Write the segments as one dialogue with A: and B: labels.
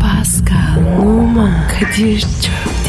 A: Pascal, Oman, Kadir çok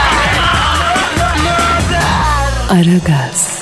A: Aragaz,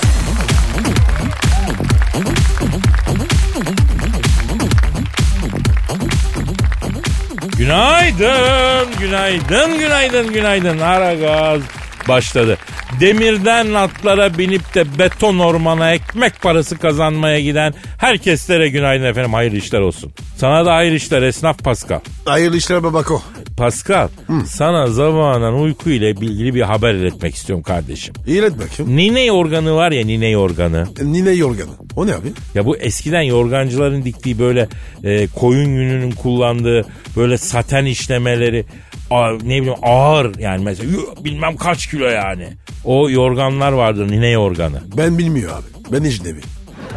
B: Günaydın, günaydın, günaydın, günaydın. Ara gaz başladı. Demirden atlara binip de beton ormana ekmek parası kazanmaya giden herkeslere günaydın efendim. Hayırlı işler olsun. Sana da hayırlı işler esnaf Pascal.
C: Hayırlı işler babako.
B: Pascal, sana zamanan uyku ile ilgili bir haber iletmek istiyorum kardeşim.
C: İyilet bakayım.
B: Nine organı var ya nine organı.
C: Nine yorganı. O ne abi?
B: Ya bu eskiden yorgancıların diktiği böyle e, koyun yününün kullandığı böyle saten işlemeleri a- ne bileyim ağır yani mesela yuh, bilmem kaç kilo yani. O yorganlar vardır nine yorganı.
C: Ben bilmiyor abi. Ben ecnebi.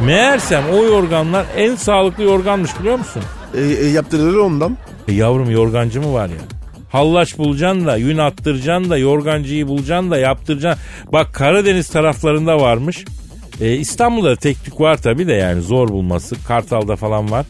B: Meğersem o yorganlar en sağlıklı yorganmış biliyor musun?
C: E, e, yaptırırlar ondan.
B: E yavrum yorgancı mı var ya? Hallaç bulacaksın da yün attıracaksın da yorgancıyı bulacaksın da yaptıracaksın. Bak Karadeniz taraflarında varmış. E, İstanbul'da da tek tük var tabi de yani zor bulması. Kartal'da falan var.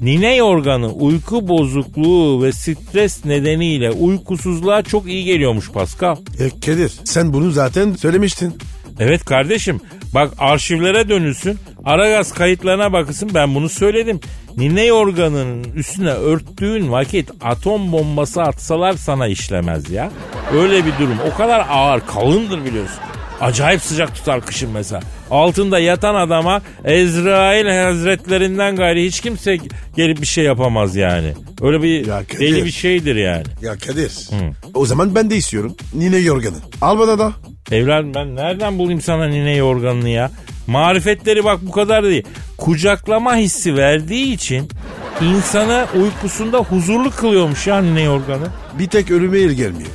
B: Nine yorganı uyku bozukluğu ve stres nedeniyle uykusuzluğa çok iyi geliyormuş Pascal.
C: E, Kadir sen bunu zaten söylemiştin.
B: Evet kardeşim bak arşivlere dönülsün. Aragaz kayıtlarına bakılsın ben bunu söyledim. Nine yorganının üstüne örttüğün vakit atom bombası atsalar sana işlemez ya. Öyle bir durum. O kadar ağır kalındır biliyorsun. Acayip sıcak tutar kışın mesela. Altında yatan adama Ezrail hazretlerinden gayri hiç kimse gelip bir şey yapamaz yani. Öyle bir
C: Ya Kadir.
B: deli bir şeydir yani.
C: Ya Kadir. O zaman ben de istiyorum. Nine yorganı. Al bana da.
B: Evladım ben nereden bulayım sana nine yorganını ya? Marifetleri bak bu kadar değil. Kucaklama hissi verdiği için insana uykusunda huzurlu kılıyormuş ya nine yorganı.
C: Bir tek ölüme el gelmiyor.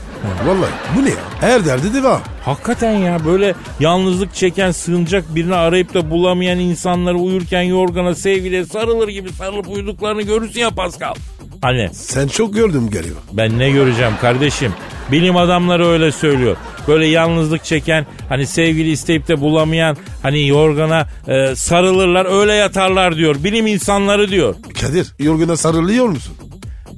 C: Vallahi bu ne ya? Her derdi de var.
B: Hakikaten ya böyle yalnızlık çeken sığınacak birini arayıp da bulamayan insanları uyurken yorgana sevgiliye sarılır gibi sarılıp uyuduklarını görürsün ya Pascal. Hani
C: Sen çok gördüm galiba.
B: Ben ne göreceğim kardeşim? Bilim adamları öyle söylüyor. Böyle yalnızlık çeken, hani sevgili isteyip de bulamayan, hani yorgana e, sarılırlar, öyle yatarlar diyor. Bilim insanları diyor.
C: Kadir yorgana sarılıyor musun?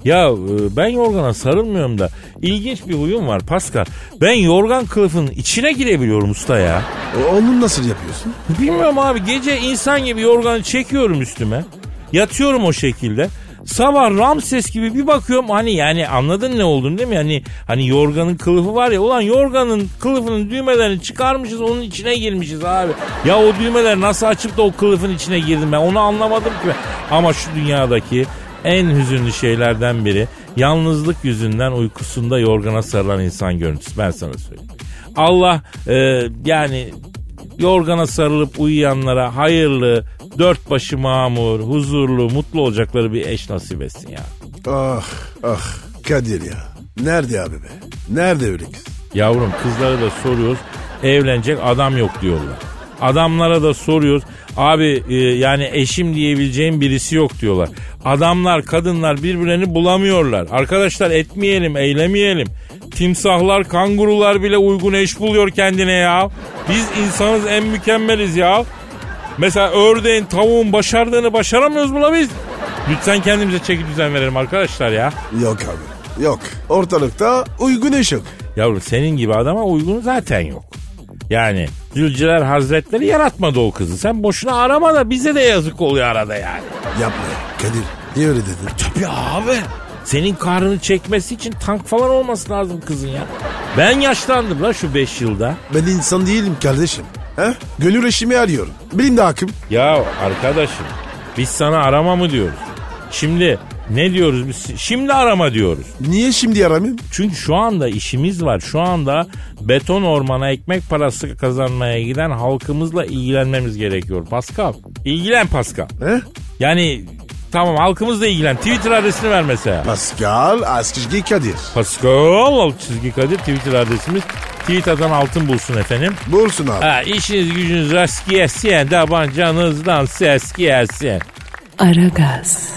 B: Ya e, ben yorgana sarılmıyorum da ilginç bir huyum var Pascal. Ben yorgan kılıfının içine girebiliyorum usta ya.
C: E, Onu nasıl yapıyorsun?
B: Bilmiyorum abi gece insan gibi yorganı çekiyorum üstüme. Yatıyorum o şekilde. Sabah Ramses gibi bir bakıyorum hani yani anladın ne olduğunu değil mi? Hani hani yorganın kılıfı var ya ulan yorganın kılıfının düğmelerini çıkarmışız onun içine girmişiz abi. Ya o düğmeler nasıl açıp da o kılıfın içine girdim ben onu anlamadım ki. Ama şu dünyadaki en hüzünlü şeylerden biri yalnızlık yüzünden uykusunda yorgana sarılan insan görüntüsü ben sana söyleyeyim. Allah e, yani Yorgana sarılıp uyuyanlara hayırlı, dört başı mamur, huzurlu, mutlu olacakları bir eş nasip etsin ya.
C: Ah ah Kadir ya. Nerede abi be? Nerede öyle kız?
B: Yavrum kızlara da soruyoruz, evlenecek adam yok diyorlar. Adamlara da soruyoruz, abi e, yani eşim diyebileceğim birisi yok diyorlar. Adamlar, kadınlar birbirlerini bulamıyorlar. Arkadaşlar etmeyelim, eylemeyelim. Timsahlar, kangurular bile uygun eş buluyor kendine ya. Biz insanız en mükemmeliz ya. Mesela ördeğin, tavuğun başardığını başaramıyoruz buna biz. Lütfen kendimize çeki düzen verelim arkadaşlar ya.
C: Yok abi. Yok. Ortalıkta uygun eş yok.
B: Yavrum senin gibi adama uygun zaten yok. Yani Zülceler Hazretleri yaratmadı o kızı. Sen boşuna arama da bize de yazık oluyor arada yani.
C: Yapma ya. Kadir niye öyle dedin?
B: Tabii abi. Senin karnını çekmesi için tank falan olması lazım kızın ya. Ben yaşlandım la şu 5 yılda.
C: Ben insan değilim kardeşim. He? Gönül eşimi arıyorum. Benim de hakkım.
B: Ya arkadaşım biz sana arama mı diyoruz? Şimdi ne diyoruz biz? Şimdi arama diyoruz.
C: Niye şimdi aramayayım?
B: Çünkü şu anda işimiz var. Şu anda beton ormana ekmek parası kazanmaya giden halkımızla ilgilenmemiz gerekiyor. Pascal. İlgilen Pascal.
C: He?
B: Yani Tamam halkımızla ilgilen. Twitter adresini ver mesela.
C: Pascal Askizgi Kadir.
B: Pascal alt çizgi Kadir Twitter adresimiz. Tweet atan altın bulsun efendim.
C: Bulsun abi.
B: Ha, işiniz gücünüz rast gelsin. Tabancanızdan ses gelsin.
A: Aragaz,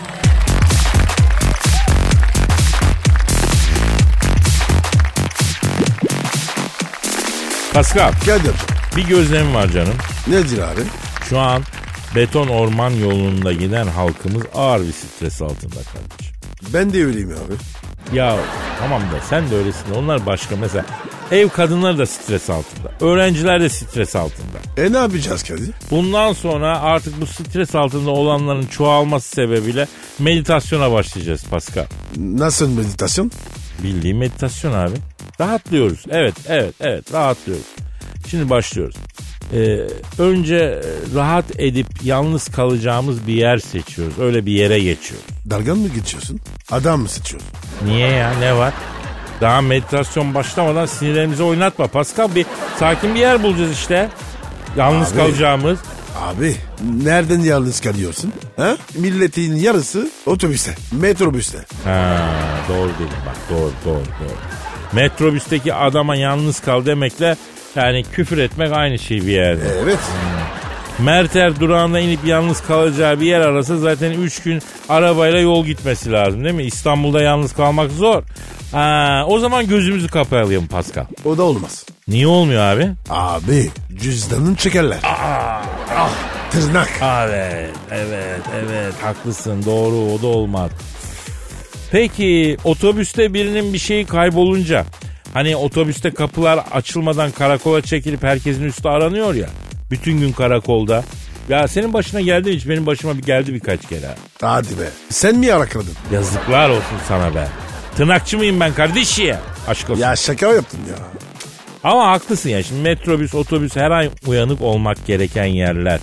B: Pascal
C: Kadir
B: bir gözlemim var canım.
C: nedir abi?
B: Şu an beton orman yolunda giden halkımız ağır bir stres altında kardeşim.
C: Ben de öyleyim abi.
B: Ya tamam da sen de öylesin. Onlar başka mesela. Ev kadınları da stres altında. Öğrenciler de stres altında.
C: E ne yapacağız Kadir?
B: Bundan sonra artık bu stres altında olanların çoğalması sebebiyle meditasyona başlayacağız Pascal.
C: Nasıl meditasyon?
B: Bildiğin meditasyon abi. Rahatlıyoruz. Evet, evet, evet rahatlıyoruz. Şimdi başlıyoruz. Ee, önce e, rahat edip yalnız kalacağımız bir yer seçiyoruz. Öyle bir yere geçiyoruz.
C: Dalgan mı geçiyorsun? Adam mı seçiyorsun?
B: Niye ya ne var? Daha meditasyon başlamadan sinirlerimizi oynatma Pascal. Bir sakin bir yer bulacağız işte. Yalnız
C: Abi.
B: kalacağımız.
C: Abi nereden yalnız kalıyorsun? Ha? Milletin yarısı otobüste, metrobüste.
B: Ha, doğru dedim bak doğru doğru doğru. Metrobüsteki adama yalnız kal demekle yani küfür etmek aynı şey bir yerde.
C: Evet.
B: Merter durağına inip yalnız kalacağı bir yer arasa zaten 3 gün arabayla yol gitmesi lazım değil mi? İstanbul'da yalnız kalmak zor. Ha, o zaman gözümüzü kapayalım Pascal.
C: O da olmaz.
B: Niye olmuyor abi?
C: Abi cüzdanın çekerler. Tırnak.
B: Ah, Evet, evet, evet. Haklısın, doğru. O da olmaz. Peki otobüste birinin bir şeyi kaybolunca hani otobüste kapılar açılmadan karakola çekilip herkesin üstü aranıyor ya. Bütün gün karakolda. Ya senin başına geldi mi hiç benim başıma bir geldi birkaç kere. ha.
C: Hadi be. Sen mi yarakladın?
B: Yazıklar olsun sana be. Tırnakçı mıyım ben kardeş ya? Aşk olsun.
C: Ya şaka yaptın ya.
B: Ama haklısın ya şimdi metrobüs otobüs her ay uyanık olmak gereken yerler.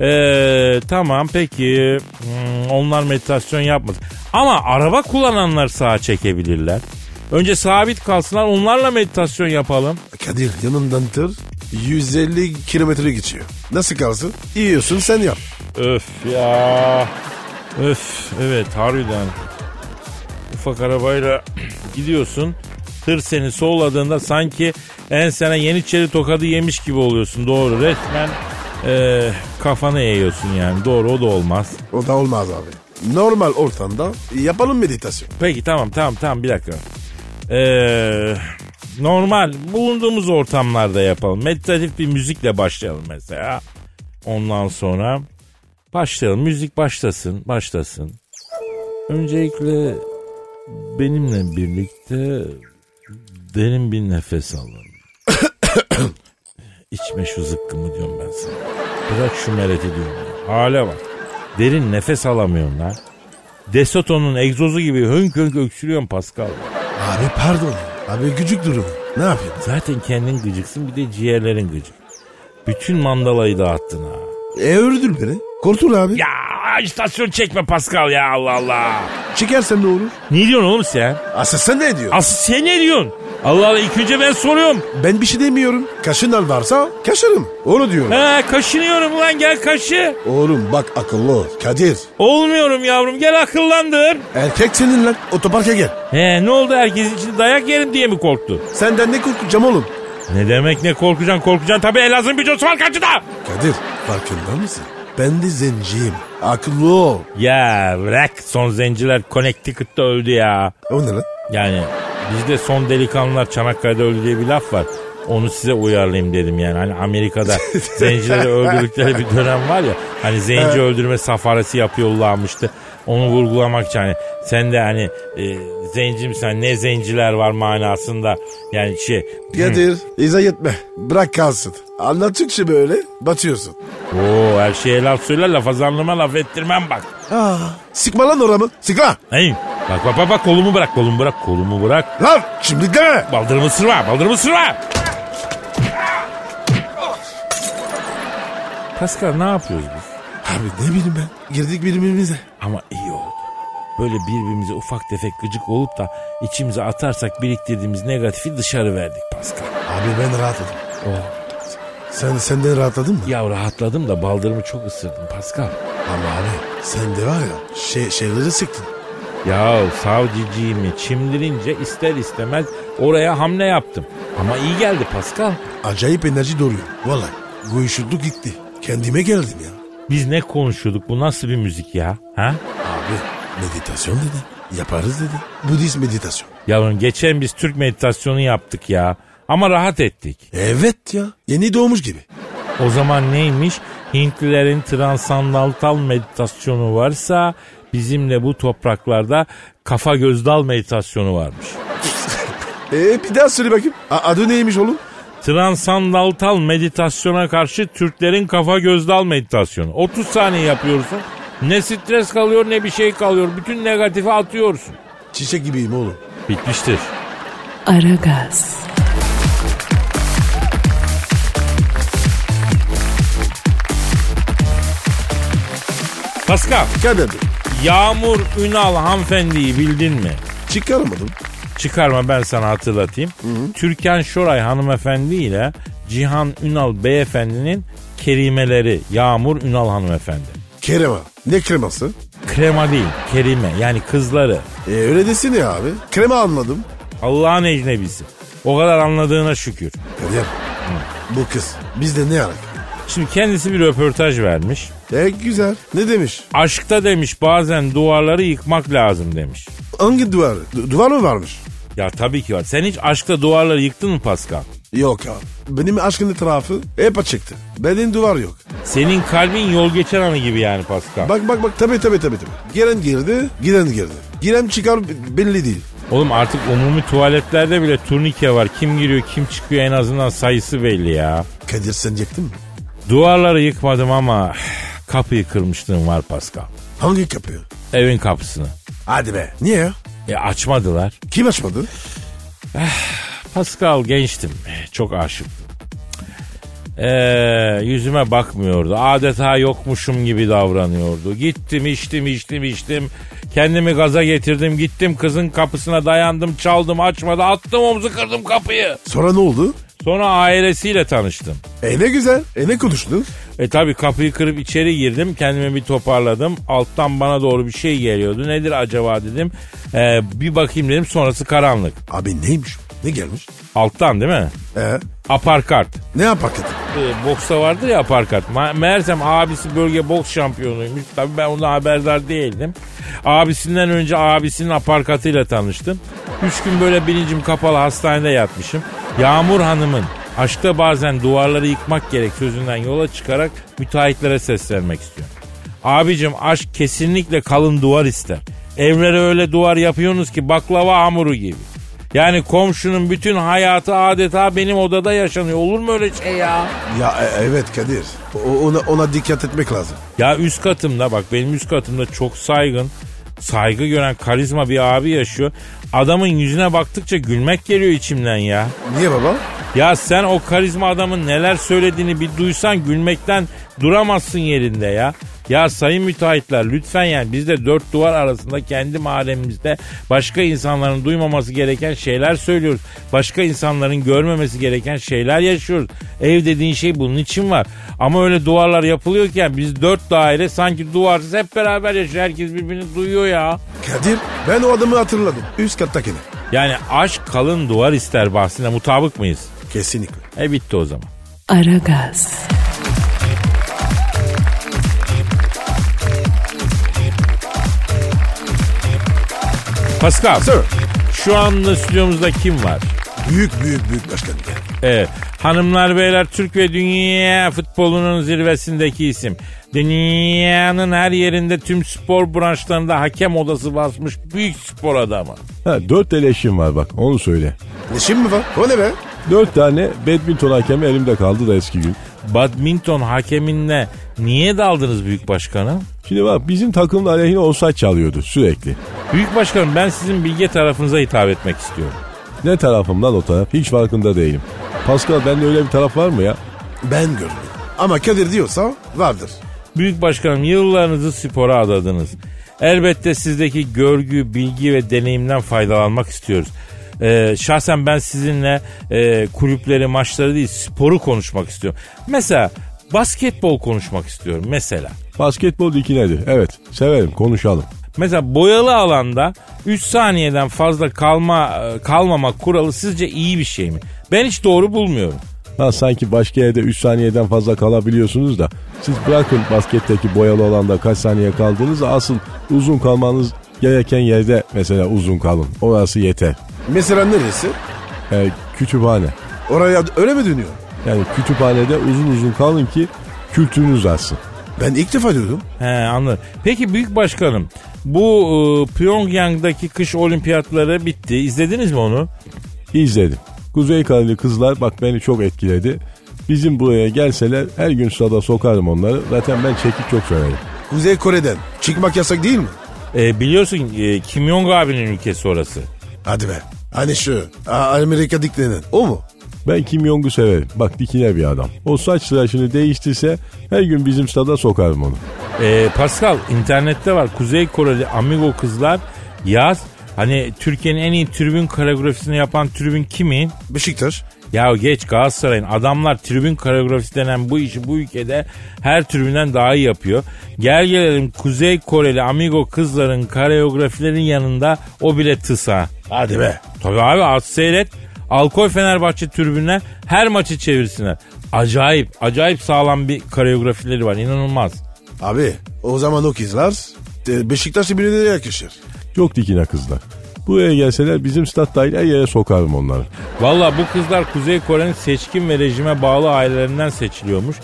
B: Ee, tamam peki Hmm, onlar meditasyon yapmaz. Ama araba kullananlar sağa çekebilirler. Önce sabit kalsınlar onlarla meditasyon yapalım.
C: Kadir yanından tır 150 kilometre geçiyor. Nasıl kalsın? Yiyorsun sen yap.
B: Öf ya. Öf evet harbiden. Ufak arabayla gidiyorsun. Tır seni solladığında sanki ensene yeniçeri tokadı yemiş gibi oluyorsun. Doğru resmen eee kafana eğiyorsun yani. Doğru o da olmaz.
C: O da olmaz abi. Normal ortamda yapalım meditasyon.
B: Peki tamam tamam tamam bir dakika. Eee, normal bulunduğumuz ortamlarda yapalım. Meditatif bir müzikle başlayalım mesela. Ondan sonra başlayalım. Müzik başlasın, başlasın. Öncelikle benimle birlikte derin bir nefes alın. İçme şu zıkkımı diyorum ben sana. Bırak şu mereti diyorum. ya. Hale bak. Derin nefes alamıyorum lan. Desoto'nun egzozu gibi hönk hönk öksürüyorsun Pascal.
C: Abi pardon. Abi gücük durumu. Ne yapayım?
B: Zaten kendin gıcıksın bir de ciğerlerin gıcık. Bütün mandalayı dağıttın ha.
C: E öldür beni. Kurtul abi.
B: Ya ajitasyon çekme Pascal ya Allah Allah.
C: Çekersen ne olur?
B: Ne diyorsun oğlum sen?
C: Asıl sen ne diyor?
B: Asıl sen ne diyorsun? Allah Allah ilk önce ben soruyorum.
C: ben bir şey demiyorum. Kaşından varsa kaşarım. Onu diyorum.
B: He kaşınıyorum ulan gel kaşı.
C: Oğlum bak akıllı ol. Kadir.
B: Olmuyorum yavrum gel akıllandır.
C: Erkek senin lan. Otoparka gel.
B: He ne oldu herkesin içinde dayak yerim diye mi korktu?
C: Senden ne korkacağım oğlum?
B: Ne demek ne korkacaksın korkacaksın tabii Elazığ'ın bir cosu var karşıda.
C: Kadir farkında mısın? Ben de zenciyim. Akıllı ol.
B: Ya bırak son zenciler Connecticut'ta öldü ya.
C: O ne lan?
B: Yani bizde son delikanlılar Çanakkale'de öldü diye bir laf var. Onu size uyarlayayım dedim yani. Hani Amerika'da zencileri öldürdükleri bir dönem var ya. Hani zenci öldürme safarası yapıyorlarmıştı. Onu vurgulamak için hani sen de hani e, zenci misin, hani ne zenciler var manasında yani şey.
C: Kadir izah etme. Bırak kalsın. Anlattıkça böyle batıyorsun.
B: Oo her şeye laf söyler laf azanlığıma laf ettirmem bak.
C: Aa, sıkma lan oramı. Sıkma.
B: Hey, bak bak bak bak kolumu bırak kolumu bırak kolumu bırak.
C: Lan şimdi deme.
B: Baldırımı sırma, baldırımı sırma. Pascal ne yapıyoruz biz?
C: Abi ne bileyim ben. Girdik birbirimize.
B: Ama iyi oldu. Böyle birbirimize ufak tefek gıcık olup da içimize atarsak biriktirdiğimiz negatifi dışarı verdik Pascal.
C: Abi ben rahatladım.
B: Oh.
C: Sen senden rahatladın mı?
B: Ya rahatladım da baldırımı çok ısırdım Pascal.
C: Ama abi sen de var ya şey, şeyleri sıktın.
B: Ya savciciğimi çimdirince ister istemez oraya hamle yaptım. Ama iyi geldi Pascal.
C: Acayip enerji doğuruyor. Vallahi uyuşukluk gitti. Kendime geldim ya.
B: Biz ne konuşuyorduk bu nasıl bir müzik ya? Ha?
C: Abi meditasyon dedi. Yaparız dedi. Budist meditasyon.
B: Yavrum geçen biz Türk meditasyonu yaptık ya. Ama rahat ettik.
C: Evet ya. Yeni doğmuş gibi.
B: O zaman neymiş? Hintlilerin transandantal meditasyonu varsa bizimle bu topraklarda kafa gözdal meditasyonu varmış.
C: Eee Ee, bir daha söyle bakayım. A- adı neymiş oğlum?
B: Transandantal meditasyona karşı Türklerin kafa gözdal meditasyonu. 30 saniye yapıyorsun. Ne stres kalıyor ne bir şey kalıyor. Bütün negatifi atıyorsun.
C: Çiçek gibiyim oğlum.
B: Bitmiştir.
A: Aragaz,
B: Pascal,
C: Kader Bey,
B: Yağmur Ünal hanımefendiyi bildin mi?
C: Çıkaramadım.
B: Çıkarma ben sana hatırlatayım. Türkan Şoray hanımefendi ile Cihan Ünal beyefendinin kerimeleri Yağmur Ünal hanımefendi.
C: Krema. Ne kreması?
B: Krema değil, kerime yani kızları.
C: E öyle desene ya abi. Krema anladım.
B: Allah'ın ecnebisi. O kadar anladığına şükür.
C: Kader. Bu kız. Bizde ne alaka?
B: Şimdi kendisi bir röportaj vermiş.
C: E güzel. Ne demiş?
B: Aşkta demiş bazen duvarları yıkmak lazım demiş.
C: Hangi duvar? Du- duvar mı varmış?
B: Ya tabii ki var. Sen hiç aşkta duvarları yıktın mı Pascal?
C: Yok abi. Benim aşkın etrafı hep açıktı. Benim duvar yok.
B: Senin kalbin yol geçen anı gibi yani Pascal.
C: Bak bak bak tabi tabi tabi. Giren girdi, giden girdi. Giren çıkar b- belli değil.
B: Oğlum artık umumi tuvaletlerde bile turnike var. Kim giriyor kim çıkıyor en azından sayısı belli ya.
C: Kadir sen yaktın mı?
B: Duvarları yıkmadım ama kapıyı kırmışlığım var Pascal.
C: Hangi kapıyı?
B: Evin kapısını.
C: Hadi be. Niye ya?
B: E açmadılar.
C: Kim açmadı?
B: Pascal gençtim. Çok aşıktım. Ee, yüzüme bakmıyordu. Adeta yokmuşum gibi davranıyordu. Gittim içtim içtim içtim. Kendimi gaza getirdim. Gittim kızın kapısına dayandım. Çaldım açmadı. Attım omzu kırdım kapıyı.
C: Sonra ne oldu?
B: Sonra ailesiyle tanıştım.
C: E ne güzel. E ne konuştun?
B: E tabi kapıyı kırıp içeri girdim. Kendimi bir toparladım. Alttan bana doğru bir şey geliyordu. Nedir acaba dedim. Ee, bir bakayım dedim. Sonrası karanlık.
C: Abi neymiş? Ne gelmiş?
B: Alttan değil mi?
C: E
B: Aparkart.
C: ne yapar Kadir?
B: e, boksa vardır ya aparkat. Ma- Meğersem abisi bölge boks şampiyonuymuş. Tabii ben ondan haberdar değildim. Abisinden önce abisinin aparkatıyla tanıştım. Üç gün böyle bilincim kapalı hastanede yatmışım. Yağmur Hanım'ın aşkta bazen duvarları yıkmak gerek sözünden yola çıkarak müteahhitlere seslenmek istiyorum. Abicim aşk kesinlikle kalın duvar ister. Evlere öyle duvar yapıyorsunuz ki baklava hamuru gibi. Yani komşunun bütün hayatı adeta benim odada yaşanıyor. Olur mu öyle şey ya?
C: Ya e- evet Kadir. O- ona, ona dikkat etmek lazım.
B: Ya üst katımda bak benim üst katımda çok saygın, saygı gören karizma bir abi yaşıyor. Adamın yüzüne baktıkça gülmek geliyor içimden ya.
C: Niye baba?
B: Ya sen o karizma adamın neler söylediğini bir duysan gülmekten duramazsın yerinde ya. Ya sayın müteahhitler lütfen yani biz de dört duvar arasında kendi mahallemizde başka insanların duymaması gereken şeyler söylüyoruz. Başka insanların görmemesi gereken şeyler yaşıyoruz. Ev dediğin şey bunun için var. Ama öyle duvarlar yapılıyorken biz dört daire sanki duvarsız hep beraber yaşıyor. Herkes birbirini duyuyor ya.
C: Kadir ben o adamı hatırladım. Üst kattakini.
B: Yani aşk kalın duvar ister bahsine mutabık mıyız?
C: Kesinlikle.
B: E bitti o zaman.
A: Aragaz,
B: Pascal.
C: Sir.
B: Şu anda stüdyomuzda kim var?
C: Büyük büyük büyük başkan.
B: Evet. Hanımlar beyler Türk ve dünya futbolunun zirvesindeki isim. Dünyanın her yerinde tüm spor branşlarında hakem odası basmış büyük spor adamı.
D: Ha, dört tane eşim var bak onu söyle.
C: Ne şimdi mi var? O ne be?
D: Dört tane badminton hakemi elimde kaldı da eski gün.
B: Badminton hakeminle niye daldınız büyük başkanım?
D: Şimdi bak bizim takımın aleyhine offside çalıyordu sürekli.
B: Büyük başkanım ben sizin bilge tarafınıza hitap etmek istiyorum.
D: Ne tarafımdan o taraf hiç farkında değilim. Pascal bende öyle bir taraf var mı ya?
C: Ben görmedim. Ama Kadir diyorsa vardır.
B: Büyük başkanım yıllarınızı spora adadınız. Elbette sizdeki görgü, bilgi ve deneyimden faydalanmak istiyoruz. Ee, şahsen ben sizinle e, kulüpleri, maçları değil sporu konuşmak istiyorum. Mesela basketbol konuşmak istiyorum mesela.
E: Basketbol dikinedir. Evet severim konuşalım.
B: Mesela boyalı alanda 3 saniyeden fazla kalma e, kalmamak kuralı sizce iyi bir şey mi? Ben hiç doğru bulmuyorum.
E: Ha sanki başka yerde 3 saniyeden fazla kalabiliyorsunuz da siz bırakın basketteki boyalı olanda kaç saniye kaldığınızı asıl uzun kalmanız gereken yerde mesela uzun kalın. Orası yeter.
C: Mesela neresi?
E: Ee, kütüphane.
C: Oraya öyle mi dönüyor?
E: Yani kütüphanede uzun uzun kalın ki kültürünüz artsın.
C: Ben ilk defa duydum.
B: He anladım. Peki Büyük Başkanım bu e, Pyongyang'daki kış olimpiyatları bitti. İzlediniz mi onu?
E: İzledim. Kuzey Kareli kızlar bak beni çok etkiledi. Bizim buraya gelseler her gün sırada sokarım onları. Zaten ben çekik çok severim.
C: Kuzey Kore'den çıkmak yasak değil mi?
B: E, biliyorsun e, Kim Jong abinin ülkesi orası.
C: Hadi be. Hani şu A- Amerika diklenen o mu?
E: Ben Kim Jong'u severim. Bak dikine bir adam. O saç tıraşını değiştirse her gün bizim stada sokarım onu.
B: E, Pascal internette var Kuzey Koreli Amigo kızlar yaz. Hani Türkiye'nin en iyi tribün koreografisini yapan tribün kimin?
C: Beşiktaş.
B: Ya geç Galatasaray'ın adamlar tribün koreografisi denen bu işi bu ülkede her tribünden daha iyi yapıyor. Gel gelelim Kuzey Koreli amigo kızların koreografilerin yanında o bile tısa.
C: Hadi be.
B: Tabii abi az seyret. Alkoy Fenerbahçe tribünler her maçı çevirsinler. Acayip, acayip sağlam bir koreografileri var inanılmaz.
C: Abi o zaman o kızlar e, Beşiktaş'ı birine yakışır.
E: Çok dikine kızlar. Buraya gelseler bizim stat dahil her yere sokarım onları.
B: Valla bu kızlar Kuzey Kore'nin seçkin ve rejime bağlı ailelerinden seçiliyormuş.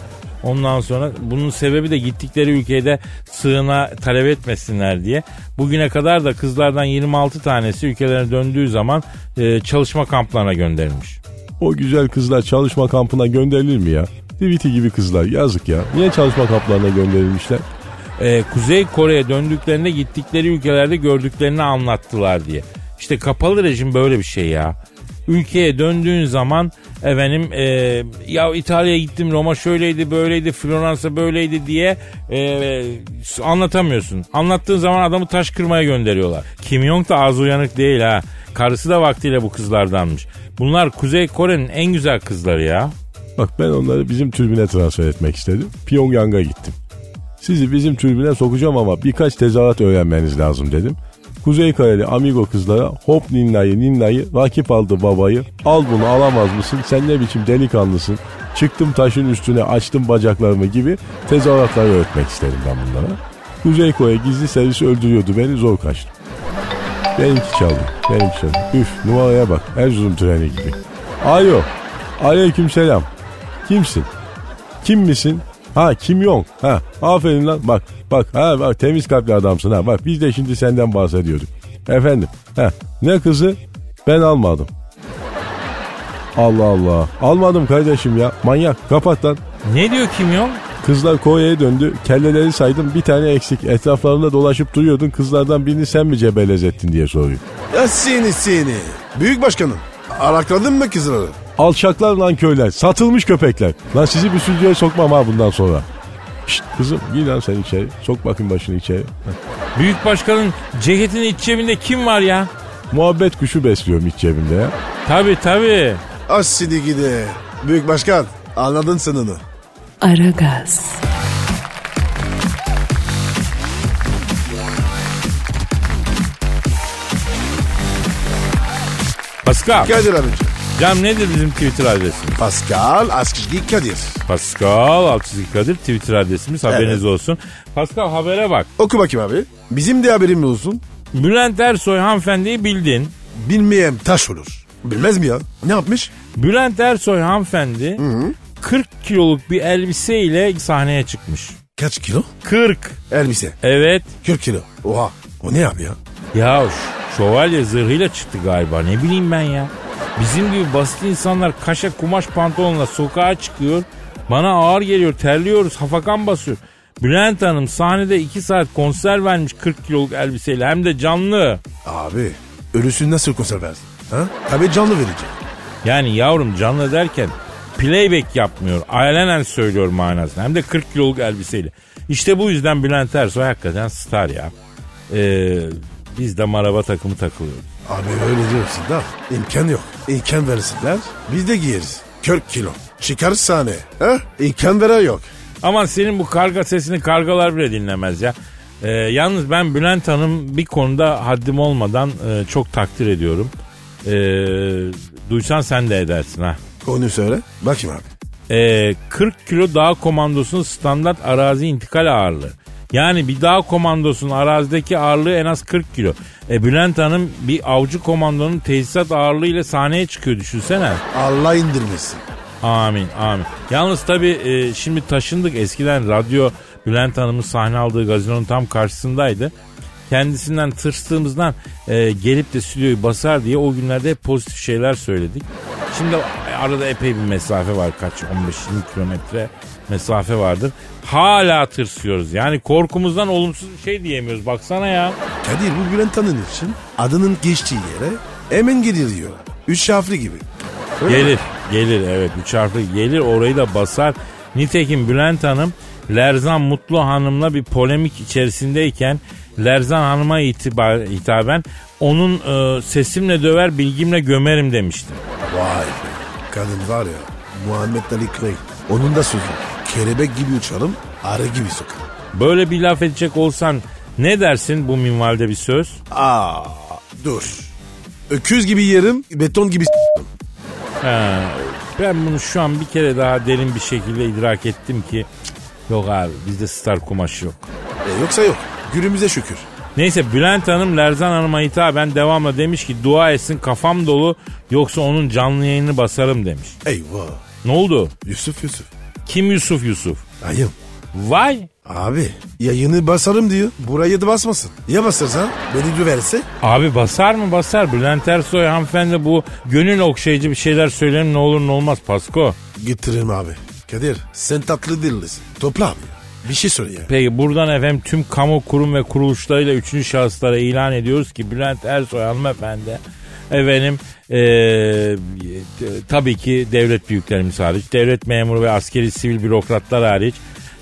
B: Ondan sonra bunun sebebi de gittikleri ülkede sığına talep etmesinler diye. Bugüne kadar da kızlardan 26 tanesi ülkelerine döndüğü zaman e, çalışma kamplarına gönderilmiş.
E: O güzel kızlar çalışma kampına gönderilir mi ya? Diviti gibi kızlar yazık ya. Niye çalışma kamplarına gönderilmişler?
B: E, Kuzey Kore'ye döndüklerinde gittikleri ülkelerde gördüklerini anlattılar diye. İşte kapalı rejim böyle bir şey ya. Ülkeye döndüğün zaman efendim e, ya İtalya'ya gittim Roma şöyleydi böyleydi Floransa böyleydi diye e, anlatamıyorsun. Anlattığın zaman adamı taş kırmaya gönderiyorlar. Kim Jong da az uyanık değil ha. Karısı da vaktiyle bu kızlardanmış. Bunlar Kuzey Kore'nin en güzel kızları ya.
E: Bak ben onları bizim türbüne transfer etmek istedim. Pyongyang'a gittim. Sizi bizim türbüne sokacağım ama birkaç tezahürat öğrenmeniz lazım dedim. Kuzey Kareli amigo kızlara hop ninnayı ninnayı rakip aldı babayı. Al bunu alamaz mısın sen ne biçim delikanlısın. Çıktım taşın üstüne açtım bacaklarımı gibi tezahüratları öğretmek istedim ben bunlara. Kuzey Kore gizli servis öldürüyordu beni zor kaçtım. Benimki çaldı. Benimki çaldı. Üf numaraya bak. Erzurum treni gibi. Alo. Aleyküm selam. Kimsin? Kim misin? Ha Kim Jong. Ha aferin lan. Bak bak ha bak temiz kalpli adamsın ha. Bak biz de şimdi senden bahsediyorduk. Efendim. Ha ne kızı? Ben almadım. Allah Allah. Almadım kardeşim ya. Manyak. Kapat lan.
B: Ne diyor Kim Jong?
E: Kızlar Kore'ye döndü. Kelleleri saydım. Bir tane eksik. Etraflarında dolaşıp duruyordun. Kızlardan birini sen mi cebelezettin diye soruyor.
C: Ya seni seni. Büyük başkanım. Arakladın mı kızları?
E: Alçaklar lan köyler. Satılmış köpekler. Lan sizi bir stüdyoya sokmam ha bundan sonra. Şşt kızım gir lan sen içeri. Sok bakayım başını içeri. Heh.
B: Büyük başkanın ceketinin iç cebinde kim var ya?
E: Muhabbet kuşu besliyorum iç cebimde ya.
B: Tabi tabi.
C: Az seni gide. Büyük başkan anladın sınını.
A: Aragaz.
B: Pascal.
C: Kadir abicim.
B: Cam nedir bizim Twitter adresimiz?
C: Pascal Askizgi Kadir.
B: Pascal Altçizgi Kadir Twitter adresimiz haberiniz olsun. Pascal habere bak.
C: Oku bakayım abi. Bizim de haberimiz olsun.
B: Bülent Ersoy hanımefendiyi bildin.
C: Bilmeyem taş olur. Bilmez mi ya? Ne yapmış?
B: Bülent Ersoy hanımefendi 40 kiloluk bir elbiseyle sahneye çıkmış.
C: Kaç kilo?
B: 40.
C: Elbise.
B: Evet.
C: 40 kilo. Oha. O ne abi ya?
B: Ya ş- şövalye zırhıyla çıktı galiba ne bileyim ben ya. Bizim gibi basit insanlar kaşa kumaş pantolonla sokağa çıkıyor. Bana ağır geliyor terliyoruz hafakan basıyor. Bülent Hanım sahnede 2 saat konser vermiş 40 kiloluk elbiseyle hem de canlı.
C: Abi ölüsünü nasıl konser versin? Ha? Tabii canlı verecek.
B: Yani yavrum canlı derken playback yapmıyor. Alenen söylüyor manasını. Hem de 40 kiloluk elbiseyle. İşte bu yüzden Bülent Ersoy hakikaten star ya. Ee, biz de maraba takımı takılıyoruz.
C: Abi öyle diyorsun da imkan yok. İmkan verirsinler biz de giyeriz. 40 kilo. Çıkarız sahneye. Ha? İmkan veren yok.
B: Aman senin bu karga sesini kargalar bile dinlemez ya. Ee, yalnız ben Bülent Hanım bir konuda haddim olmadan e, çok takdir ediyorum. Ee, duysan sen de edersin ha.
C: Konuyu söyle. Bakayım abi.
B: Ee, 40 kilo dağ komandosunun standart arazi intikal ağırlığı. Yani bir dağ komandosunun arazideki ağırlığı en az 40 kilo. E Bülent Hanım bir avcı komandonun tesisat ağırlığı ile sahneye çıkıyor düşünsene.
C: Allah indirmesin.
B: Amin amin. Yalnız tabii e, şimdi taşındık eskiden radyo Bülent Hanım'ın sahne aldığı gazinonun tam karşısındaydı. Kendisinden tırstığımızdan e, gelip de stüdyoyu basar diye o günlerde hep pozitif şeyler söyledik. Şimdi e, arada epey bir mesafe var kaç 15-20 kilometre mesafe vardır. Hala tırsıyoruz yani korkumuzdan olumsuz bir şey diyemiyoruz baksana ya.
C: Kadir bu Bülent Hanım için adının geçtiği yere hemen gelir diyor. Üç harfli gibi. Öyle mi?
B: Gelir, gelir evet. Üç harfli gelir orayı da basar. Nitekim Bülent Hanım Lerzan Mutlu Hanım'la bir polemik içerisindeyken Lerzan Hanım'a itibar, hitaben onun e, sesimle döver bilgimle gömerim demişti.
C: Vay be. Kadın var ya Muhammed Ali Craig. Onun da sözü. Kelebek gibi uçalım, arı gibi sokalım.
B: Böyle bir laf edecek olsan ne dersin bu minvalde bir söz?
C: Aa, dur. Öküz gibi yerim, beton gibi s***im.
B: Ha, ben bunu şu an bir kere daha derin bir şekilde idrak ettim ki cık, yok abi bizde star kumaşı yok.
C: E, yoksa yok. Gürümüze şükür.
B: Neyse Bülent Hanım Lerzan Hanım'a hitaben devamla demiş ki dua etsin kafam dolu yoksa onun canlı yayını basarım demiş.
C: Eyvah.
B: Ne oldu?
C: Yusuf Yusuf.
B: Kim Yusuf Yusuf?
C: Ayım.
B: Vay
C: Abi yayını basarım diyor. Burayı da basmasın. Ya basarsan beni güverse?
B: Abi basar mı basar Bülent Ersoy hanımefendi bu gönül okşayıcı bir şeyler söylerim ne olur ne olmaz Pasko.
C: Getiririm abi. Kadir sen tatlı dillisin. Topla abi. ya. Bir şey söyle ya.
B: Peki buradan efendim tüm kamu kurum ve kuruluşlarıyla üçüncü şahıslara ilan ediyoruz ki Bülent Ersoy hanımefendi efendim eee, t- tabii ki devlet büyüklerimiz hariç devlet memuru ve askeri sivil bürokratlar hariç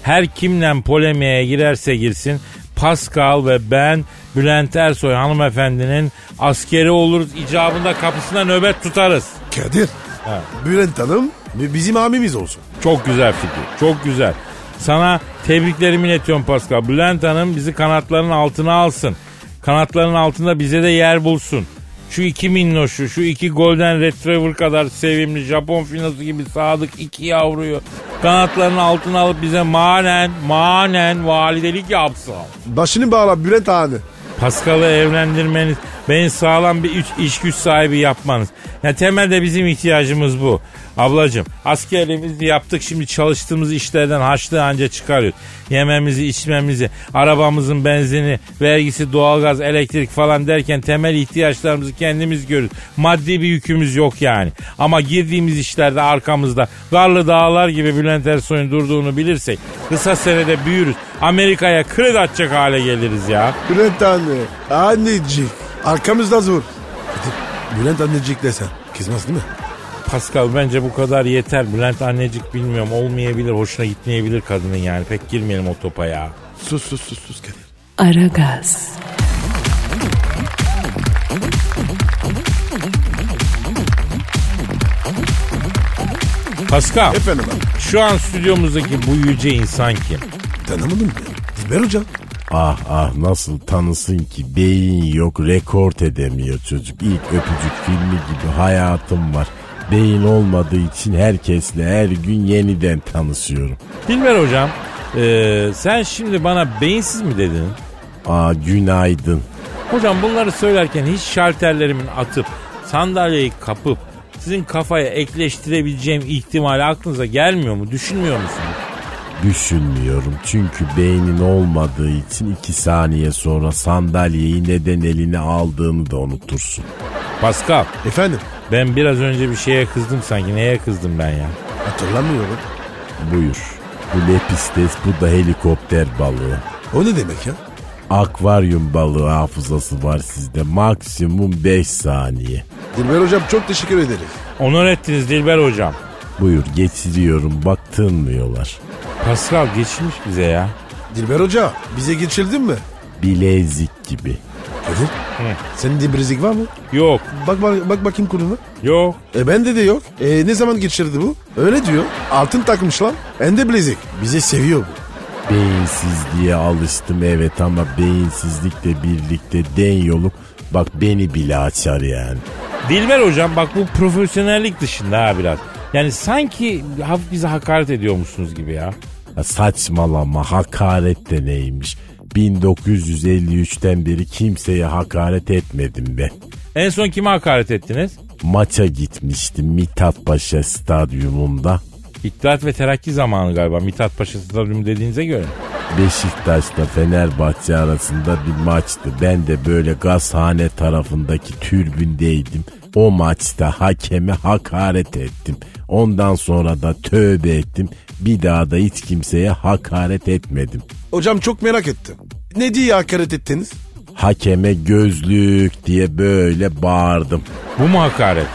B: her kimle polemiğe girerse girsin Pascal ve ben Bülent Ersoy hanımefendinin askeri oluruz icabında kapısına nöbet tutarız.
C: Kadir. Bülent Hanım bi- bizim abimiz olsun.
B: Çok güzel fikir. Çok güzel. Sana tebriklerimi iletiyorum Pascal. Bülent Hanım bizi kanatlarının altına alsın. Kanatlarının altında bize de yer bulsun. Şu iki minnoşu, şu iki golden retriever kadar sevimli Japon finosu gibi sadık iki yavruyu kanatlarının altına alıp bize manen, manen validelik yapsın.
C: Başını bağla Bülent abi.
B: Paskal'ı evlendirmeniz, beni sağlam bir iş, iş güç sahibi yapmanız. Ya temelde bizim ihtiyacımız bu. Ablacığım askerliğimizi yaptık şimdi çalıştığımız işlerden haçlığı anca çıkarıyoruz. Yememizi, içmemizi, arabamızın benzini, vergisi, doğalgaz, elektrik falan derken temel ihtiyaçlarımızı kendimiz görürüz. Maddi bir yükümüz yok yani. Ama girdiğimiz işlerde arkamızda Garlı Dağlar gibi Bülent Ersoy'un durduğunu bilirsek kısa senede büyürüz. Amerika'ya kredi atacak hale geliriz ya.
C: Bülent anne. Annecik. Arkamızda zor. Kadir, Bülent annecik desen. Kızmaz değil mi?
B: Pascal bence bu kadar yeter. Bülent annecik bilmiyorum olmayabilir. Hoşuna gitmeyebilir kadının yani. Pek girmeyelim o topa ya.
C: Sus sus sus sus Kadir.
A: Aragaz,
B: Pascal
C: Efendim abi.
B: şu an stüdyomuzdaki bu yüce insan kim?
C: Tanımadın mı? Dilber hocam.
D: Ah ah nasıl tanısın ki beyin yok rekort edemiyor çocuk. İlk öpücük filmi gibi hayatım var. Beyin olmadığı için herkesle her gün yeniden tanışıyorum.
B: Dilber hocam e, sen şimdi bana beyinsiz mi dedin?
D: Aa günaydın.
B: Hocam bunları söylerken hiç şalterlerimin atıp sandalyeyi kapıp sizin kafaya ekleştirebileceğim ihtimali aklınıza gelmiyor mu? Düşünmüyor musunuz?
D: Düşünmüyorum çünkü beynin olmadığı için iki saniye sonra sandalyeyi neden eline aldığını da unutursun.
B: Pascal
C: Efendim.
B: ben biraz önce bir şeye kızdım sanki. Neye kızdım ben ya?
C: Hatırlamıyorum.
D: Buyur. Bu lepistes bu da helikopter balığı.
C: O ne demek ya?
D: Akvaryum balığı hafızası var sizde. Maksimum 5 saniye.
C: Dilber hocam çok teşekkür ederiz.
B: Onur ettiniz Dilber hocam.
D: Buyur geçiriyorum bak tınmıyorlar.
B: Pascal geçmiş bize ya.
C: Dilber hoca bize geçildin mi?
D: Bilezik gibi.
C: Kadir. Senin de bilezik var mı?
B: Yok.
C: Bak bak, bak bakayım koluna.
B: Yok.
C: E bende de yok. E ne zaman geçirdi bu? Öyle diyor. Altın takmış lan. Ende bilezik. Bizi seviyor bu.
D: Beyinsizliğe alıştım evet ama beyinsizlikle birlikte den yoluk bak beni bile açar yani.
B: Dilber hocam bak bu profesyonellik dışında ha biraz. Yani sanki hafif bize hakaret ediyormuşsunuz gibi ya.
D: Ya saçmalama hakaret de neymiş? 1953'ten beri kimseye hakaret etmedim ben.
B: En son kime hakaret ettiniz?
D: Maça gitmiştim Mithat Paşa stadyumunda.
B: İttihat ve Terakki zamanı galiba. Mithat Paşa Stadyumu dediğinize göre.
D: Beşiktaş'ta Fenerbahçe arasında bir maçtı. Ben de böyle gazhane tarafındaki türbündeydim. O maçta hakeme hakaret ettim. Ondan sonra da tövbe ettim. Bir daha da hiç kimseye hakaret etmedim.
C: Hocam çok merak ettim. Ne diye hakaret ettiniz?
D: Hakeme gözlük diye böyle bağırdım.
B: Bu mu hakaret?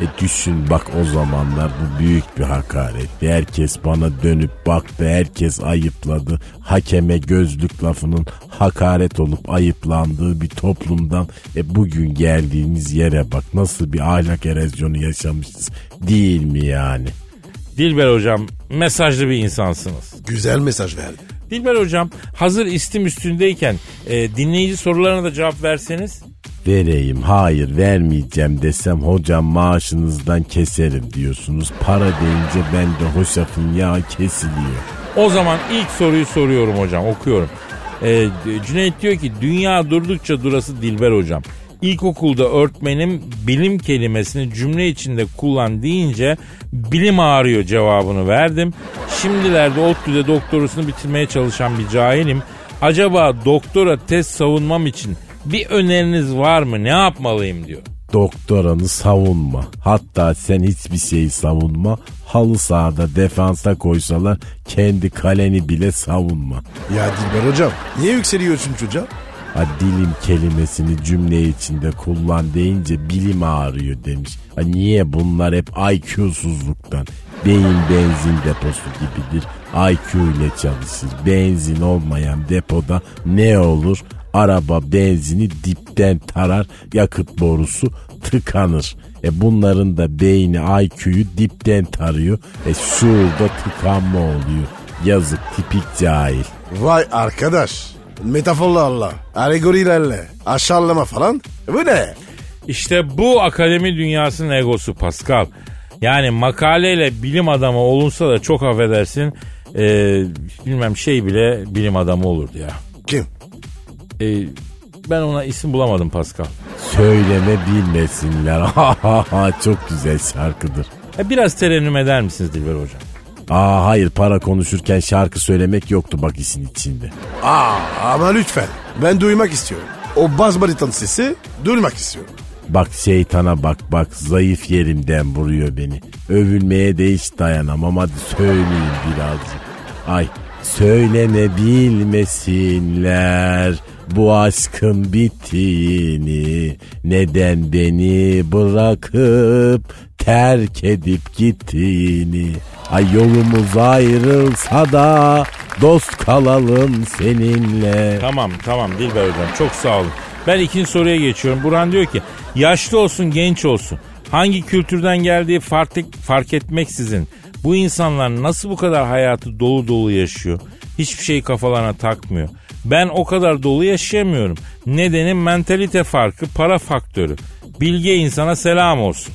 D: E düşün bak o zamanlar bu büyük bir hakaretti. Herkes bana dönüp baktı, herkes ayıpladı. Hakeme gözlük lafının hakaret olup ayıplandığı bir toplumdan e bugün geldiğimiz yere bak nasıl bir ahlak erozyonu yaşamışız değil mi yani?
B: Dilber hocam mesajlı bir insansınız.
C: Güzel mesaj verdi.
B: Dilber hocam hazır istim üstündeyken e, dinleyici sorularına da cevap verseniz.
D: Vereyim hayır vermeyeceğim desem hocam maaşınızdan keserim diyorsunuz. Para deyince ben de hoşafın yağı kesiliyor.
B: O zaman ilk soruyu soruyorum hocam okuyorum. E, Cüneyt diyor ki dünya durdukça durası Dilber hocam. İlkokulda öğretmenim bilim kelimesini cümle içinde kullan deyince bilim ağrıyor cevabını verdim. Şimdilerde ODTÜ'de doktorasını bitirmeye çalışan bir cahilim. Acaba doktora test savunmam için bir öneriniz var mı ne yapmalıyım diyor.
D: Doktoranı savunma. Hatta sen hiçbir şeyi savunma. Halı sahada defansa koysalar kendi kaleni bile savunma.
C: Ya Dilber hocam niye yükseliyorsun çocuğa?
D: Ha dilim kelimesini cümle içinde kullan deyince bilim ağrıyor demiş. Ha niye bunlar hep IQ'suzluktan? Beyin benzin deposu gibidir. IQ ile çalışır. Benzin olmayan depoda ne olur? Araba benzini dipten tarar. Yakıt borusu tıkanır. E bunların da beyni IQ'yu dipten tarıyor. E şurada tıkanma oluyor. Yazık tipik cahil.
C: Vay arkadaş. Metaforlarla, alegorilerle, aşağılama falan. E Bu ne?
B: İşte bu akademi dünyasının egosu Pascal. Yani makaleyle bilim adamı olunsa da çok affedersin e, bilmem şey bile bilim adamı olurdu ya.
C: Kim?
B: E, ben ona isim bulamadım Pascal.
D: Söyleme bilmesinler. Ha ha ha çok güzel şarkıdır.
B: E, biraz terennüm eder misiniz Dilber Hocam?
D: Aa hayır para konuşurken şarkı söylemek yoktu bak işin içinde.
C: Aa ama lütfen. Ben duymak istiyorum. O bas bariton sesi duymak istiyorum.
D: Bak şeytana bak bak zayıf yerimden vuruyor beni. Övülmeye de hiç dayanamam hadi söyleyeyim birazcık. Ay söyleme bilmesinler bu aşkın bittiğini. Neden beni bırakıp terk edip gittiğini. Ay yolumuz ayrılsa da dost kalalım seninle.
B: Tamam tamam Dilber Hocam çok sağ olun. Ben ikinci soruya geçiyorum. Burhan diyor ki yaşlı olsun genç olsun. Hangi kültürden geldiği fark, fark etmeksizin bu insanlar nasıl bu kadar hayatı dolu dolu yaşıyor? Hiçbir şey kafalarına takmıyor. Ben o kadar dolu yaşayamıyorum. Nedeni mentalite farkı, para faktörü. Bilge insana selam olsun.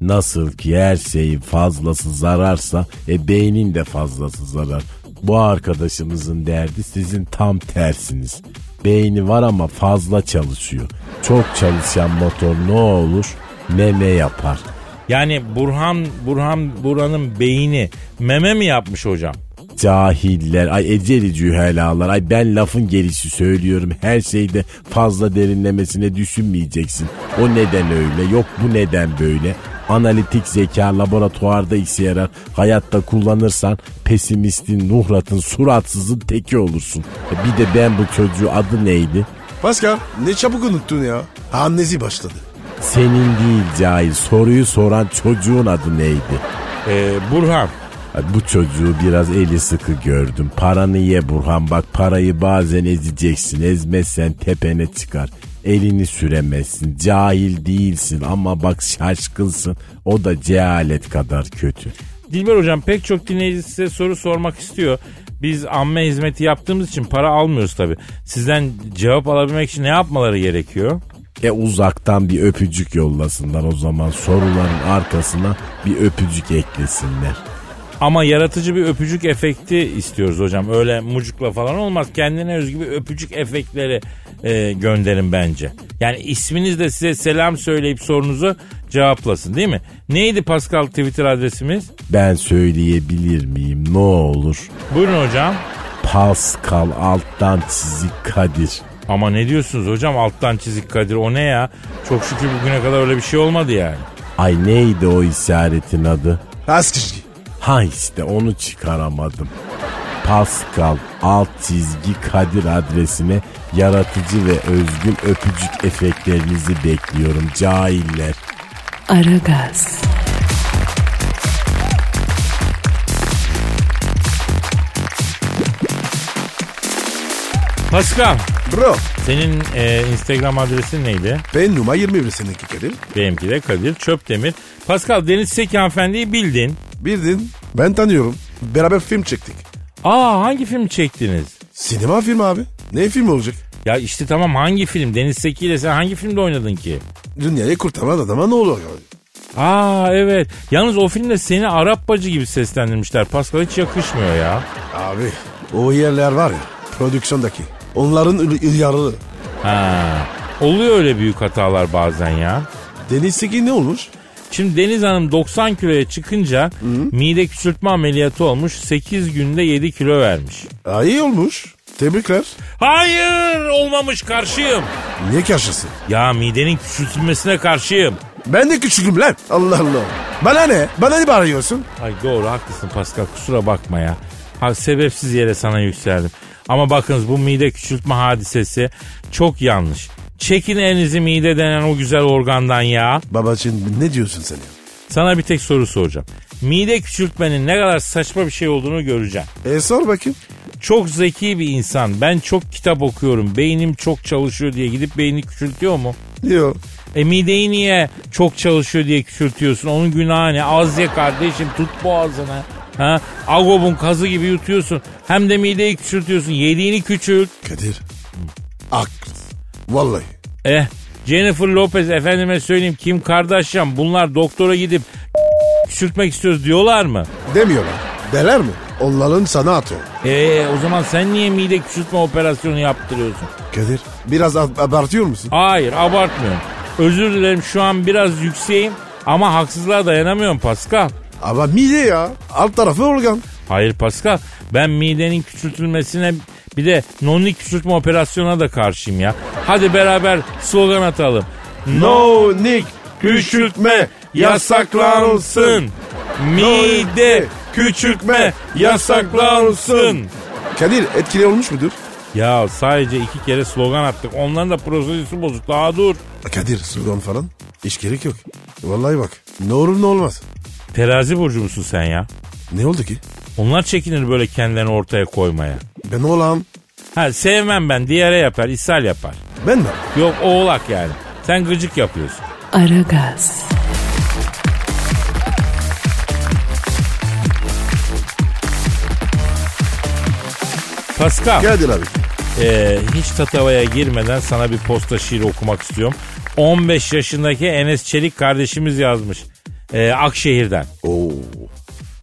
D: Nasıl ki her şeyin fazlası zararsa e beynin de fazlası zarar. Bu arkadaşımızın derdi sizin tam tersiniz. Beyni var ama fazla çalışıyor. Çok çalışan motor ne olur? Meme yapar.
B: Yani Burhan Burhan Burhan'ın beyni meme mi yapmış hocam?
D: Cahiller, ay eceli cühelalar, ay ben lafın gelişi söylüyorum. Her şeyde fazla derinlemesine düşünmeyeceksin. O neden öyle, yok bu neden böyle. Analitik zeka laboratuvarda işe yarar. Hayatta kullanırsan pesimistin, nuhratın, suratsızın teki olursun. E Bir de ben bu çocuğu adı neydi?
C: Pascal ne çabuk unuttun ya. Annesi başladı.
D: Senin değil cahil, soruyu soran çocuğun adı neydi?
B: Ee, Burhan
D: Ay, Bu çocuğu biraz eli sıkı gördüm. Paranı ye Burhan bak parayı bazen ezeceksin. Ezmezsen tepene çıkar.
F: elini süremezsin. Cahil değilsin ama bak şaşkınsın. O da cehalet kadar kötü.
B: Dilber hocam pek çok dinleyici size soru sormak istiyor. Biz amme hizmeti yaptığımız için para almıyoruz tabii. Sizden cevap alabilmek için ne yapmaları gerekiyor?
F: E uzaktan bir öpücük yollasınlar o zaman soruların arkasına bir öpücük eklesinler.
B: Ama yaratıcı bir öpücük efekti istiyoruz hocam. Öyle mucukla falan olmaz. Kendine özgü bir öpücük efektleri e, gönderin bence. Yani isminiz de size selam söyleyip sorunuzu cevaplasın değil mi? Neydi Pascal Twitter adresimiz?
F: Ben söyleyebilir miyim ne olur?
B: Buyurun hocam.
F: Pascal alttan çizik Kadir.
B: Ama ne diyorsunuz hocam alttan çizik Kadir o ne ya? Çok şükür bugüne kadar öyle bir şey olmadı yani.
F: Ay neydi o işaretin adı?
C: Az kişi.
F: Ha işte onu çıkaramadım. Pascal alt çizgi Kadir adresine yaratıcı ve özgün öpücük efektlerinizi bekliyorum cahiller.
A: Aragaz,
B: Pascal
C: Bro.
B: senin e, Instagram adresin neydi?
C: Ben numara 21 seninki Kadir.
B: Benimki de Kadir Çöpdemir. Pascal Deniz Seki hanımefendiyi bildin.
C: Bildin. Ben tanıyorum. Beraber film çektik.
B: Aa hangi film çektiniz?
C: Sinema filmi abi. Ne film olacak?
B: Ya işte tamam hangi film? Deniz Seki ile sen hangi filmde oynadın ki?
C: Dünyayı kurtaran adama ne olur abi?
B: Aa evet. Yalnız o filmde seni Arap bacı gibi seslendirmişler. Pascal hiç yakışmıyor ya.
C: Abi o yerler var ya prodüksiyondaki. Onların ül- ilyarı.
B: Ha. Oluyor öyle büyük hatalar bazen ya.
C: Denizdeki ne olur?
B: Şimdi Deniz Hanım 90 kiloya çıkınca mide küçültme ameliyatı olmuş. 8 günde 7 kilo vermiş.
C: Aa, iyi olmuş. Tebrikler.
B: Hayır olmamış karşıyım.
C: Niye karşısın?
B: Ya midenin küçültülmesine karşıyım.
C: Ben de küçüküm lan. Allah Allah. Bana ne? Bana ne bağırıyorsun?
B: Ay doğru haklısın Pascal kusura bakma ya. Ha, sebepsiz yere sana yükseldim. Ama bakınız bu mide küçültme hadisesi çok yanlış. Çekin elinizi mide denen o güzel organdan ya.
C: Babacığım ne diyorsun sen ya?
B: Sana bir tek soru soracağım. Mide küçültmenin ne kadar saçma bir şey olduğunu göreceğim.
C: E sor bakayım.
B: Çok zeki bir insan. Ben çok kitap okuyorum. Beynim çok çalışıyor diye gidip beynini küçültüyor mu?
C: Yo.
B: E mideyi niye çok çalışıyor diye küçültüyorsun? Onun günahı ne? Az ye kardeşim tut boğazını. Ha? Agob'un kazı gibi yutuyorsun. Hem de mideyi küçültüyorsun. Yediğini küçült.
C: Kadir. Haklısın. Vallahi.
B: Eh Jennifer Lopez efendime söyleyeyim Kim Kardashian bunlar doktora gidip küçültmek istiyoruz diyorlar mı?
C: Demiyorlar. Deler mi? Onların sana atıyor.
B: E o zaman sen niye mide küçültme operasyonu yaptırıyorsun?
C: Kadir. Biraz ab- abartıyor musun?
B: Hayır abartmıyorum. Özür dilerim şu an biraz yükseğim ama haksızlığa dayanamıyorum Pascal.
C: Ama mide ya. Alt tarafı organ.
B: Hayır Pascal ben midenin küçültülmesine bir de nonli küçültme operasyonuna da karşıyım ya. Hadi beraber slogan atalım.
C: No Nick küçültme
B: Yasaklansın. Mide küçültme yasaklansın.
C: Kadir etkili olmuş mudur?
B: Ya sadece iki kere slogan attık. Onların da prosedüsü bozuk. Daha dur.
C: Kadir slogan falan hiç gerek yok. Vallahi bak ne olur ne olmaz.
B: Terazi burcu musun sen ya?
C: Ne oldu ki?
B: Onlar çekinir böyle kendilerini ortaya koymaya.
C: Ben oğlan.
B: Ha sevmem ben. Diyare yapar, ishal yapar.
C: Ben mi?
B: Yok oğlak yani. Sen gıcık yapıyorsun.
A: Aragaz,
B: Pascal.
C: Kadir abi.
B: Ee, hiç tatavaya girmeden sana bir posta şiiri okumak istiyorum. 15 yaşındaki Enes Çelik kardeşimiz yazmış. Ee, Akşehir'den.
C: Oo.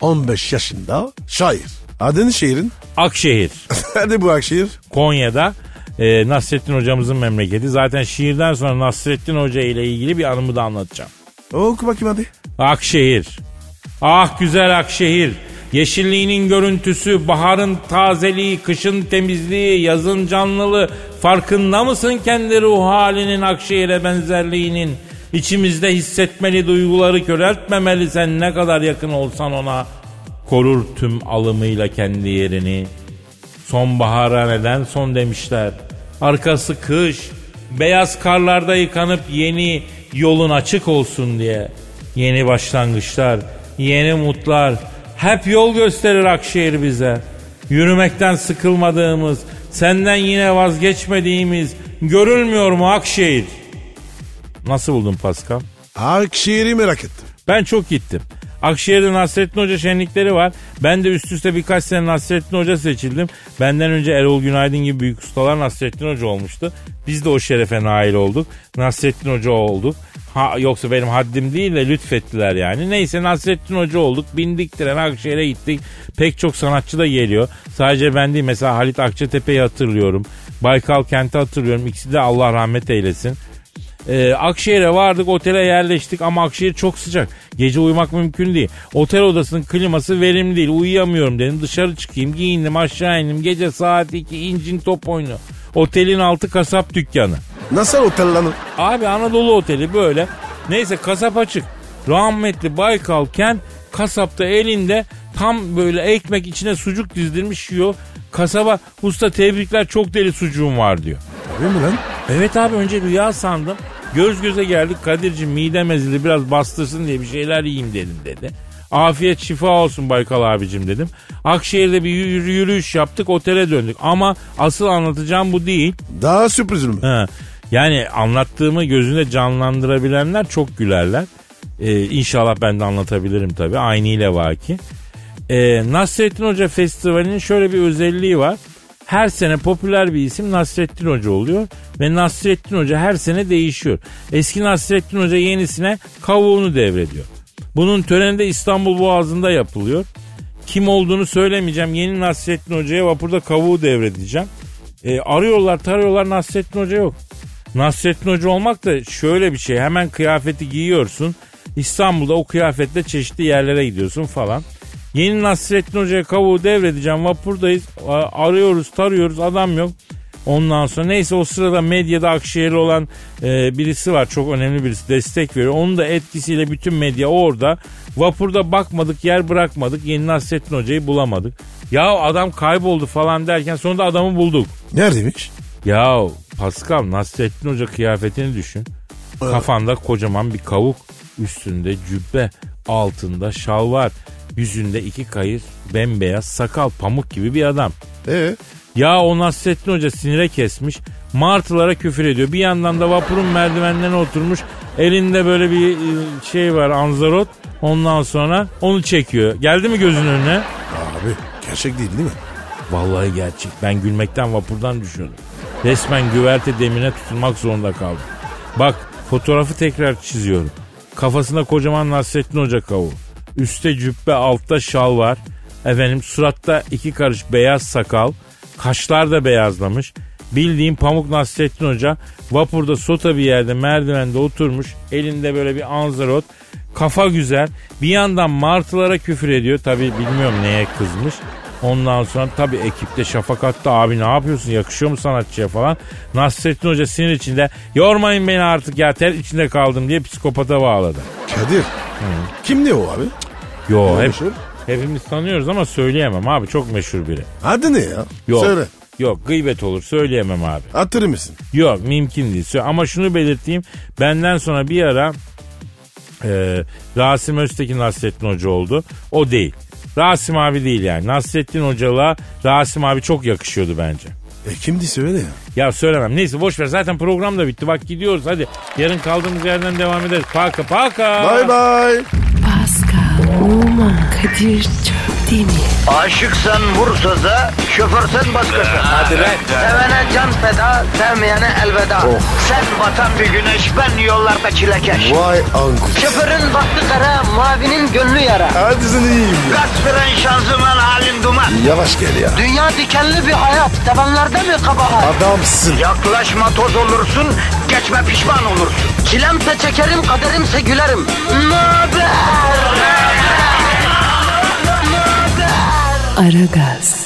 C: 15 yaşında şair. Adın şehrin?
B: Akşehir.
C: Nerede bu şehir?
B: Konya'da. Ee, Nasrettin hocamızın memleketi. Zaten şiirden sonra Nasrettin Hoca ile ilgili bir anımı da anlatacağım.
C: Oku bakayım hadi.
B: Akşehir. Ah güzel Akşehir. Yeşilliğinin görüntüsü, baharın tazeliği, kışın temizliği, yazın canlılığı. Farkında mısın kendi ruh halinin Akşehir'e benzerliğinin? İçimizde hissetmeli duyguları köreltmemeli sen ne kadar yakın olsan ona. Korur tüm alımıyla kendi yerini. Sonbahara neden son demişler. Arkası kış, beyaz karlarda yıkanıp yeni yolun açık olsun diye. Yeni başlangıçlar, yeni mutlar hep yol gösterir Akşehir bize. Yürümekten sıkılmadığımız, senden yine vazgeçmediğimiz, Görülmüyor mu Akşehir? Nasıl buldun Pascal?
C: Akşehir'i merak ettim.
B: Ben çok gittim. Akşehir'de Nasrettin Hoca şenlikleri var. Ben de üst üste birkaç sene Nasrettin Hoca seçildim. Benden önce Erol Günaydın gibi büyük ustalar Nasrettin Hoca olmuştu. Biz de o şerefe nail olduk. Nasrettin Hoca olduk. Ha, yoksa benim haddim değil de lütfettiler yani. Neyse Nasrettin Hoca olduk. Bindik tren Akşehir'e gittik. Pek çok sanatçı da geliyor. Sadece ben değil mesela Halit Akçatepe'yi hatırlıyorum. Baykal Kent'i hatırlıyorum. İkisi de Allah rahmet eylesin. Ee, Akşehir'e vardık otele yerleştik ama Akşehir çok sıcak. Gece uyumak mümkün değil. Otel odasının kliması verimli değil. Uyuyamıyorum dedim. Dışarı çıkayım giyindim aşağı indim. Gece saat 2 incin top oyunu. Otelin altı kasap dükkanı.
C: Nasıl otel lan?
B: Abi Anadolu Oteli böyle. Neyse kasap açık. Rahmetli Baykal Kent kasapta elinde tam böyle ekmek içine sucuk dizdirmiş yiyor. Kasaba usta tebrikler çok deli sucuğum var diyor.
C: Değil mi lan?
B: Evet abi önce rüya sandım. Göz göze geldik Kadir'cim midem ezildi biraz bastırsın diye bir şeyler yiyeyim dedim dedi. Afiyet şifa olsun Baykal abicim dedim. Akşehir'de bir yürü- yürüyüş yaptık otele döndük. Ama asıl anlatacağım bu değil.
C: Daha sürprizim mi?
B: Ha. Yani anlattığımı gözünde canlandırabilenler çok gülerler. Ee, inşallah ben de anlatabilirim tabii. Aynı ile vaki. Ee, Nasrettin Hoca Festivali'nin şöyle bir özelliği var. Her sene popüler bir isim Nasrettin Hoca oluyor ve Nasrettin Hoca her sene değişiyor. Eski Nasrettin Hoca yenisine kavuğunu devrediyor. Bunun töreni de İstanbul Boğazı'nda yapılıyor. Kim olduğunu söylemeyeceğim. Yeni Nasrettin Hoca'ya vapurda kavuğu devredeceğim. E, arıyorlar tarıyorlar Nasrettin Hoca yok. Nasrettin Hoca olmak da şöyle bir şey. Hemen kıyafeti giyiyorsun. İstanbul'da o kıyafetle çeşitli yerlere gidiyorsun falan. Yeni Nasrettin Hoca'ya kavuğu devredeceğim. Vapurdayız. A- Arıyoruz tarıyoruz adam yok. Ondan sonra neyse o sırada medyada Akşehir'li olan e, birisi var. Çok önemli birisi destek veriyor. Onun da etkisiyle bütün medya orada. Vapurda bakmadık yer bırakmadık. Yeni Nasrettin Hoca'yı bulamadık. Ya adam kayboldu falan derken sonunda adamı bulduk.
C: Neredeymiş?
B: Ya Pascal Nasrettin Hoca kıyafetini düşün. Kafanda kocaman bir kavuk, üstünde cübbe, altında şalvar, yüzünde iki kayır, bembeyaz sakal, pamuk gibi bir adam.
C: Ee?
B: Ya o Nasrettin Hoca sinire kesmiş, martılara küfür ediyor. Bir yandan da vapurun merdivenlerine oturmuş, elinde böyle bir e, şey var anzarot. Ondan sonra onu çekiyor. Geldi mi gözünün önüne?
C: Abi gerçek değil değil mi?
B: Vallahi gerçek. Ben gülmekten vapurdan düşüyordum. Resmen güverte demine tutulmak zorunda kaldım. Bak fotoğrafı tekrar çiziyorum. Kafasında kocaman Nasrettin Hoca kavuğu. Üste cübbe altta şal var. Efendim suratta iki karış beyaz sakal. Kaşlar da beyazlamış. Bildiğim pamuk Nasrettin Hoca vapurda sota bir yerde merdivende oturmuş. Elinde böyle bir anzarot. Kafa güzel. Bir yandan martılara küfür ediyor. Tabii bilmiyorum neye kızmış. Ondan sonra tabii ekipte şafak attı abi ne yapıyorsun yakışıyor mu sanatçıya falan. Nasrettin Hoca sinir içinde yormayın beni artık ya ter içinde kaldım diye psikopata bağladı.
C: Kadir. Kim diyor o abi?
B: Yo hep,
C: meşhur?
B: hepimiz tanıyoruz ama söyleyemem abi çok meşhur biri.
C: Adı ne ya?
B: Yok.
C: Söyle.
B: Yok gıybet olur söyleyemem abi.
C: Hatırı mısın?
B: Yok mümkün değil. Sö- Ama şunu belirteyim. Benden sonra bir ara e, Rasim Öztekin Nasrettin Hoca oldu. O değil. Rasim abi değil yani. Nasrettin Hoca'la Rasim abi çok yakışıyordu bence.
C: E kimdi söyle ya.
B: Ya söylemem. Neyse boş ver. Zaten program da bitti. Bak gidiyoruz hadi. Yarın kaldığımız yerden devam ederiz. Paka paka.
C: Bay bay.
A: Pascal, Oman, Kadir çok değil mi?
G: Aşıksan vursa da, şoförsen başkasın. Hadi Sevene can feda, sevmeyene elveda.
C: Oh.
G: Sen batan bir güneş, ben yollarda çilekeş.
C: Vay anku.
G: Şoförün baktı kara, mavinin gönlü yara.
C: Hadi sen iyiyim ya.
G: Kasperen şanzıman halin duman.
C: Yavaş gel ya.
G: Dünya dikenli bir hayat, sevenlerde mi kabahar?
C: Adamsın.
G: Yaklaşma toz olursun, geçme pişman olursun. Çilemse çekerim, kaderimse gülerim. Möber!
A: Aragaz.